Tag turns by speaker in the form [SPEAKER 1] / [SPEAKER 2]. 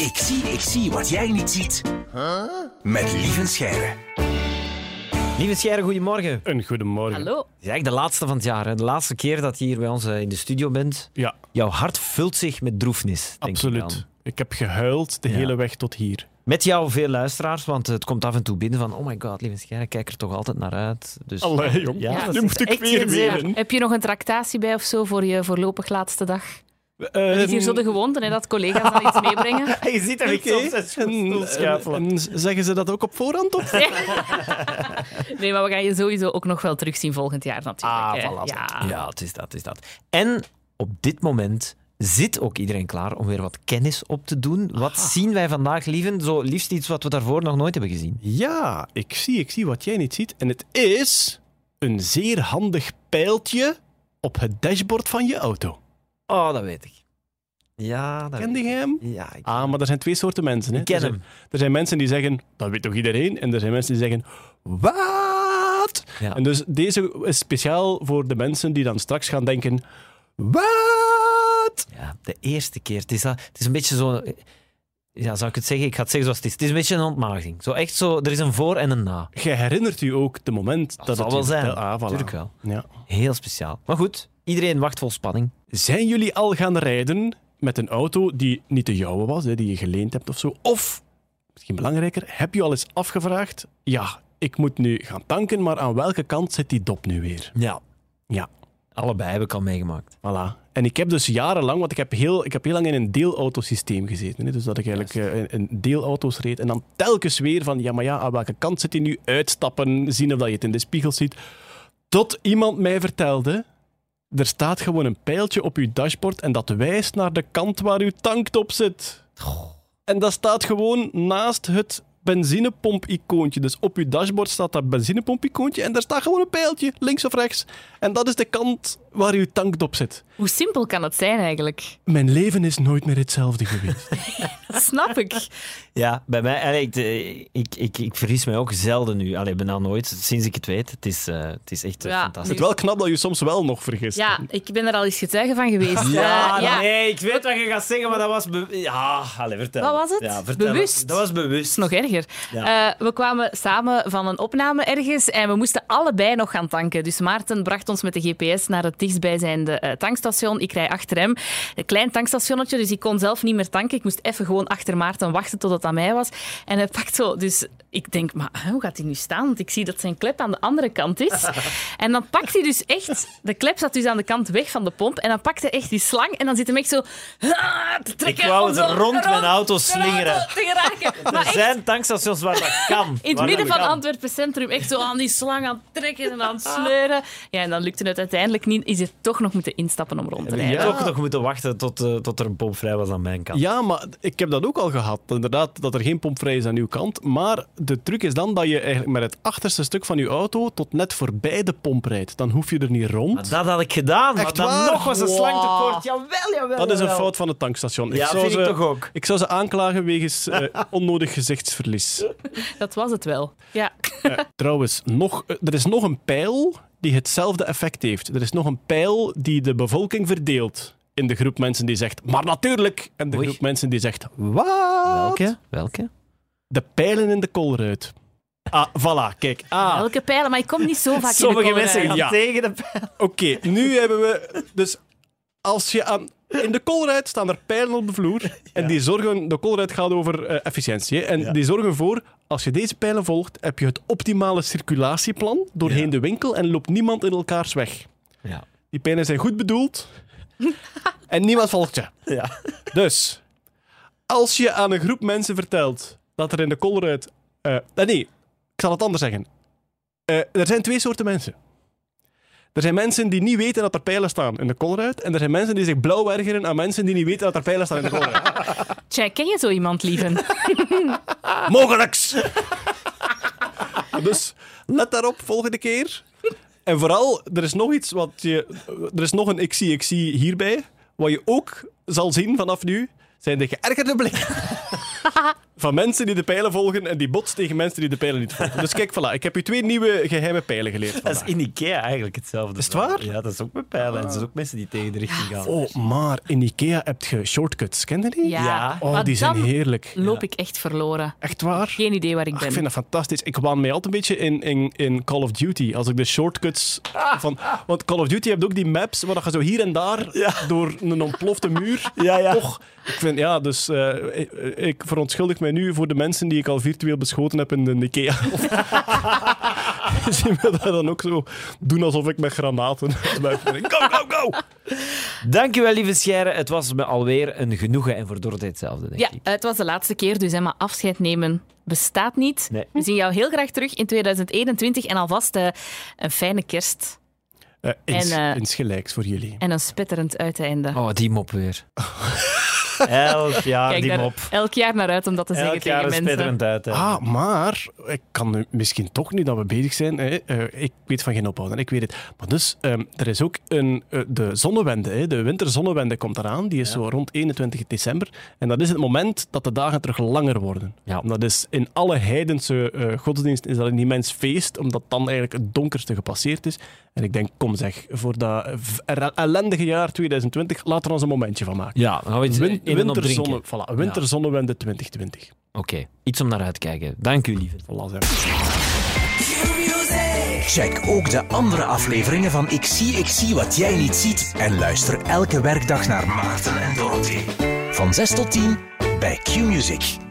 [SPEAKER 1] Ik zie, ik zie wat jij niet ziet. Met Lieven Scheire.
[SPEAKER 2] Lieve Scheire, goedemorgen.
[SPEAKER 3] Een goedemorgen.
[SPEAKER 4] Hallo.
[SPEAKER 2] Het is eigenlijk de laatste van het jaar. Hè? De laatste keer dat je hier bij ons eh, in de studio bent.
[SPEAKER 3] Ja,
[SPEAKER 2] Jouw hart vult zich met droefnis. Denk Ik
[SPEAKER 3] absoluut.
[SPEAKER 2] dan.
[SPEAKER 3] Ik, heb gehuild de
[SPEAKER 2] Ja.
[SPEAKER 3] hele weg tot hier.
[SPEAKER 2] Met jou veel luisteraars, want het komt af en toe binnen van oh my god, lieve Scheire, kijk er toch altijd naar uit. Dus
[SPEAKER 3] Allee, jong.
[SPEAKER 2] Ja, dat is
[SPEAKER 3] nu moet ik
[SPEAKER 2] echt
[SPEAKER 3] weer
[SPEAKER 2] geen zin.
[SPEAKER 3] wenen.
[SPEAKER 4] Heb je nog een tractatie bij of zo voor je voorlopig laatste dag?
[SPEAKER 3] Eh,
[SPEAKER 4] Het is hier zo de gewoonte hè, dat collega's dan iets meebrengen.
[SPEAKER 2] Ehm. je ziet hem
[SPEAKER 3] Oké. En- en- Eh, en Zeggen ze dat ook op voorhand? Of?
[SPEAKER 4] Nee, maar we gaan je sowieso ook nog wel terugzien volgend jaar natuurlijk.
[SPEAKER 2] Ah,
[SPEAKER 4] hè.
[SPEAKER 2] voilà.
[SPEAKER 4] Ja.
[SPEAKER 2] Ja. het is dat, het is dat. En op dit moment zit ook iedereen klaar om weer wat kennis op te doen. Wat zien wij vandaag, lieven? Zo liefst iets wat we daarvoor nog nooit hebben gezien.
[SPEAKER 3] Ja, ik zie, ik zie wat jij niet ziet. En het is een zeer handig pijltje op het dashboard van je auto.
[SPEAKER 2] Oh, dat weet ik. Ja, dat
[SPEAKER 3] Kende
[SPEAKER 2] weet
[SPEAKER 3] jij hem?
[SPEAKER 2] ik. Ja, ik...
[SPEAKER 3] Ah, maar er zijn twee soorten mensen. Hè.
[SPEAKER 2] Ik ken
[SPEAKER 3] er, zijn,
[SPEAKER 2] hem.
[SPEAKER 3] er zijn mensen die zeggen, dat weet toch iedereen? En er zijn mensen die zeggen, wat?
[SPEAKER 2] Ja.
[SPEAKER 3] En dus deze is speciaal voor de mensen die dan straks gaan denken, wat?
[SPEAKER 2] Ja, de eerste keer. Het is, dat, het is een beetje zo. Ja, zou ik het zeggen? Ik ga het zeggen zoals het is. Het is een beetje een ontmaagding. Zo echt zo, er is een voor en een na.
[SPEAKER 3] Jij herinnert u ook het moment dat,
[SPEAKER 2] Dat, zal
[SPEAKER 3] het
[SPEAKER 2] wel
[SPEAKER 3] je
[SPEAKER 2] zijn.
[SPEAKER 3] vertel- Ah, voilà.
[SPEAKER 2] Natuurlijk wel.
[SPEAKER 3] Ja.
[SPEAKER 2] Heel speciaal. Maar goed, iedereen wacht vol spanning.
[SPEAKER 3] Zijn jullie al gaan rijden met een auto die niet de jouwe was, hè, die je geleend hebt of zo? Of, misschien belangrijker, heb je al eens afgevraagd, ja, ik moet nu gaan tanken, maar aan welke kant zit die dop nu weer?
[SPEAKER 2] Ja.
[SPEAKER 3] Ja.
[SPEAKER 2] Allebei heb ik al meegemaakt.
[SPEAKER 3] Voilà. En ik heb dus jarenlang, want ik heb heel, ik heb heel lang in een deelautosysteem gezeten. Hè? Dus dat ik eigenlijk eh, in- in deelauto's reed. En dan telkens weer van, ja maar ja, aan welke kant zit hij nu? Uitstappen, zien of dat je het in de spiegel ziet. Tot iemand mij vertelde, er staat gewoon een pijltje op uw dashboard en dat wijst naar de kant waar uw tanktop zit. En dat staat gewoon naast het benzinepomp-icoontje. Dus op uw dashboard staat dat benzinepomp-icoontje en daar staat gewoon een pijltje, links of rechts. En dat is de kant waar uw tanktop zit.
[SPEAKER 4] Hoe simpel kan het zijn eigenlijk?
[SPEAKER 3] Mijn leven is nooit meer hetzelfde geweest.
[SPEAKER 4] Dat snap ik.
[SPEAKER 2] Ja, bij mij, allee, ik, eh, ik, ik, ik vergis mij ook zelden nu. Allee, bijna nooit, sinds ik het weet. Het is, eh, het is echt eh,
[SPEAKER 4] Ja,
[SPEAKER 2] fantastisch.
[SPEAKER 3] Het wel knap dat je soms wel nog vergist.
[SPEAKER 4] Ja, ik ben er al eens getuige van geweest. Eh, ja.
[SPEAKER 2] nee, ik weet wat je gaat zeggen, maar dat was... be- Ja, allee, vertel.
[SPEAKER 4] Wat was het?
[SPEAKER 2] vertel.
[SPEAKER 4] Bewust?
[SPEAKER 2] Dat was bewust.
[SPEAKER 4] nog erger.
[SPEAKER 2] Ja.
[SPEAKER 4] Eh, we kwamen samen van een opname ergens en we moesten allebei nog gaan tanken. Dus Maarten bracht ons met de GPS naar het dichtstbijzijnde eh, tankstation. Ik rij achter hem. Een klein tankstationnetje, dus ik kon zelf niet meer tanken. Ik moest even gewoon achter Maarten wachten tot het aan mij was. En hij pakt zo... Dus ik denk, maar hè, hoe gaat hij nu staan? Want ik zie dat zijn klep aan de andere kant is. en dan pakt hij dus echt... De klep zat dus aan de kant weg van de pomp. En dan pakt hij echt die slang en dan zit hem echt zo... ah, te trekken
[SPEAKER 2] Ik wou
[SPEAKER 4] om
[SPEAKER 2] het
[SPEAKER 4] zo
[SPEAKER 2] rond mijn auto
[SPEAKER 4] mijn auto
[SPEAKER 2] slingeren.
[SPEAKER 4] te geraken. Maar
[SPEAKER 2] Er zijn tankstations waar dat kan.
[SPEAKER 4] in het
[SPEAKER 2] Waar
[SPEAKER 4] midden
[SPEAKER 2] dat
[SPEAKER 4] van
[SPEAKER 2] kan.
[SPEAKER 4] Antwerpen Centrum echt zo aan die slang aan het trekken en aan het sleuren. Ja, en dan lukte het uiteindelijk niet. Is er toch nog moeten instappen om rond te rijden.
[SPEAKER 2] Ik
[SPEAKER 3] Ja.
[SPEAKER 2] heb ook nog moeten wachten tot, eh, tot er een pomp vrij was aan mijn kant.
[SPEAKER 3] Ja, maar ik heb dat ook al gehad. Inderdaad, dat er geen pompvrij is aan uw kant. Maar de truc is dan dat je eigenlijk met het achterste stuk van uw auto tot net voorbij de pomp rijdt. Dan hoef je er niet
[SPEAKER 2] Maar
[SPEAKER 3] rond.
[SPEAKER 2] Dat had ik gedaan, maar
[SPEAKER 3] Echt
[SPEAKER 2] dan
[SPEAKER 3] waar?
[SPEAKER 2] nog was een
[SPEAKER 3] Wow.
[SPEAKER 2] slang tekort. Jawel, jawel.
[SPEAKER 3] Dat is een
[SPEAKER 2] jawel.
[SPEAKER 3] fout van het tankstation.
[SPEAKER 2] Ja, vind ik toch ook.
[SPEAKER 3] ik zou ze aanklagen wegens eh, onnodig gezichtsverlies.
[SPEAKER 4] Dat was het wel. Ja.
[SPEAKER 3] Trouwens, nog, eh, er is nog een pijl die hetzelfde effect heeft. Er is nog een pijl die de bevolking verdeelt. In de groep mensen die zegt, maar natuurlijk. En de
[SPEAKER 2] Oei.
[SPEAKER 3] groep mensen die zegt, wat?
[SPEAKER 2] Welke? Welke?
[SPEAKER 3] De pijlen in de koolruit. Ah, voilà, kijk. Ah,
[SPEAKER 4] Welke pijlen? Maar ik kom niet zo vaak in
[SPEAKER 2] Sommige
[SPEAKER 4] de
[SPEAKER 2] mensen gaan
[SPEAKER 4] kolenruit.
[SPEAKER 3] Ja.
[SPEAKER 2] tegen de pijl.
[SPEAKER 3] oké. Nu hebben we... Dus als je aan... In de koolruit staan er pijlen op de vloer. En die zorgen... De koolruit gaat over eh, efficiëntie. hè. En die zorgen ervoor, als je deze pijlen volgt, heb je het optimale circulatieplan doorheen
[SPEAKER 2] Ja.
[SPEAKER 3] de winkel en loopt niemand in elkaars weg.
[SPEAKER 2] Ja.
[SPEAKER 3] Die pijlen zijn goed bedoeld. en niemand volgt je.
[SPEAKER 2] Ja.
[SPEAKER 3] Dus, als je aan een groep mensen vertelt dat er in de koolruit... eh, eh, nee, ik zal het anders zeggen. Eh, er zijn twee soorten mensen. Er zijn mensen die niet weten dat er pijlen staan in de koolruit. En er zijn mensen die zich blauw ergeren aan mensen die niet weten dat er pijlen staan in de koolruit.
[SPEAKER 4] Tja, ken je zo iemand, lieven?
[SPEAKER 3] Mogelijks! dus let daarop volgende keer. En vooral, er is nog iets wat je... Er is nog een ik zie, ik zie hierbij. Wat je ook zal zien vanaf nu, zijn de geërgerde blikken. van mensen die de pijlen volgen en die botst tegen mensen die de pijlen niet volgen. Dus kijk, voilà, ik heb u twee nieuwe geheime pijlen geleerd.
[SPEAKER 2] Dat is in Ikea eigenlijk hetzelfde. Is
[SPEAKER 3] het waar? Ah.
[SPEAKER 2] Ja, dat is ook met pijlen. En er zijn ook mensen die tegen de richting gaan.
[SPEAKER 3] Oh, maar in Ikea heb je shortcuts. Ken je die?
[SPEAKER 4] Ja,
[SPEAKER 2] Ja.
[SPEAKER 3] Oh,
[SPEAKER 4] maar
[SPEAKER 3] die zijn
[SPEAKER 4] dan
[SPEAKER 3] heerlijk.
[SPEAKER 4] loop ik echt verloren.
[SPEAKER 3] Echt waar?
[SPEAKER 4] Geen idee waar ik
[SPEAKER 3] Ach,
[SPEAKER 4] ben.
[SPEAKER 3] ik vind dat fantastisch. Ik waan mij altijd een beetje in, in, in Call of Duty. Als ik de shortcuts
[SPEAKER 4] Ah.
[SPEAKER 3] van... Want Call of Duty hebt ook die maps waar je zo hier en daar door een ontplofte muur...
[SPEAKER 2] Ja, ja.
[SPEAKER 3] Toch, ik vind... Ja, dus eh, ik, ik verontschuldig mij nu voor de mensen die ik al virtueel beschoten heb in de Ikea. Ze wil dat dan ook zo doen alsof ik met granaten... Go, go, go!
[SPEAKER 2] Dankjewel, lieve Sjerre. Het was me alweer een genoegen en voor Dorothy hetzelfde, denk
[SPEAKER 4] Ja,
[SPEAKER 2] ik.
[SPEAKER 4] het was de laatste keer, dus hè, maar afscheid nemen bestaat niet.
[SPEAKER 2] Nee.
[SPEAKER 4] We zien jou heel graag terug in 2021 en alvast eh, een fijne kerst
[SPEAKER 3] Eh, ins-
[SPEAKER 4] En, eh,
[SPEAKER 3] insgelijks voor jullie.
[SPEAKER 4] en een spetterend uiteinde.
[SPEAKER 2] Oh, die mop weer. Elf jaar,
[SPEAKER 4] Kijk
[SPEAKER 2] die
[SPEAKER 4] daar
[SPEAKER 2] mop.
[SPEAKER 4] elk jaar naar uit om dat te zeggen
[SPEAKER 2] Elk jaar
[SPEAKER 4] tegen
[SPEAKER 2] een
[SPEAKER 4] mensen.
[SPEAKER 2] spitterend uit. hè.
[SPEAKER 3] Ah, maar ik kan nu misschien toch niet dat we bezig zijn. Hè. Eh, ik weet van geen ophouden, ik weet het. Maar dus, ehm, er is ook een, eh, de zonnewende, hè. de winterzonnewende komt eraan. Die is zo rond 21 december. En dat is het moment dat de dagen terug langer worden.
[SPEAKER 2] Ja.
[SPEAKER 3] En Dat is in alle heidense eh godsdiensten is dat een immens feest, omdat dan eigenlijk het donkerste gepasseerd is. En ik denk, kom zeg, voor dat v- er- ellendige jaar 2020, laten we ons een momentje van maken.
[SPEAKER 2] Ja, dan gaan we iets
[SPEAKER 3] Win-
[SPEAKER 2] in en op drinken.
[SPEAKER 3] winterzonne, voilà, winterzonnewende 2020.
[SPEAKER 2] Oké, iets om naar uit te kijken. Dank u, lieve.
[SPEAKER 3] Voilà, zeg.
[SPEAKER 1] Check ook de andere afleveringen van Ik zie, ik zie wat jij niet ziet. En luister elke werkdag naar Maarten en Dorothy. Van 6 tot 10 bij Q-Music.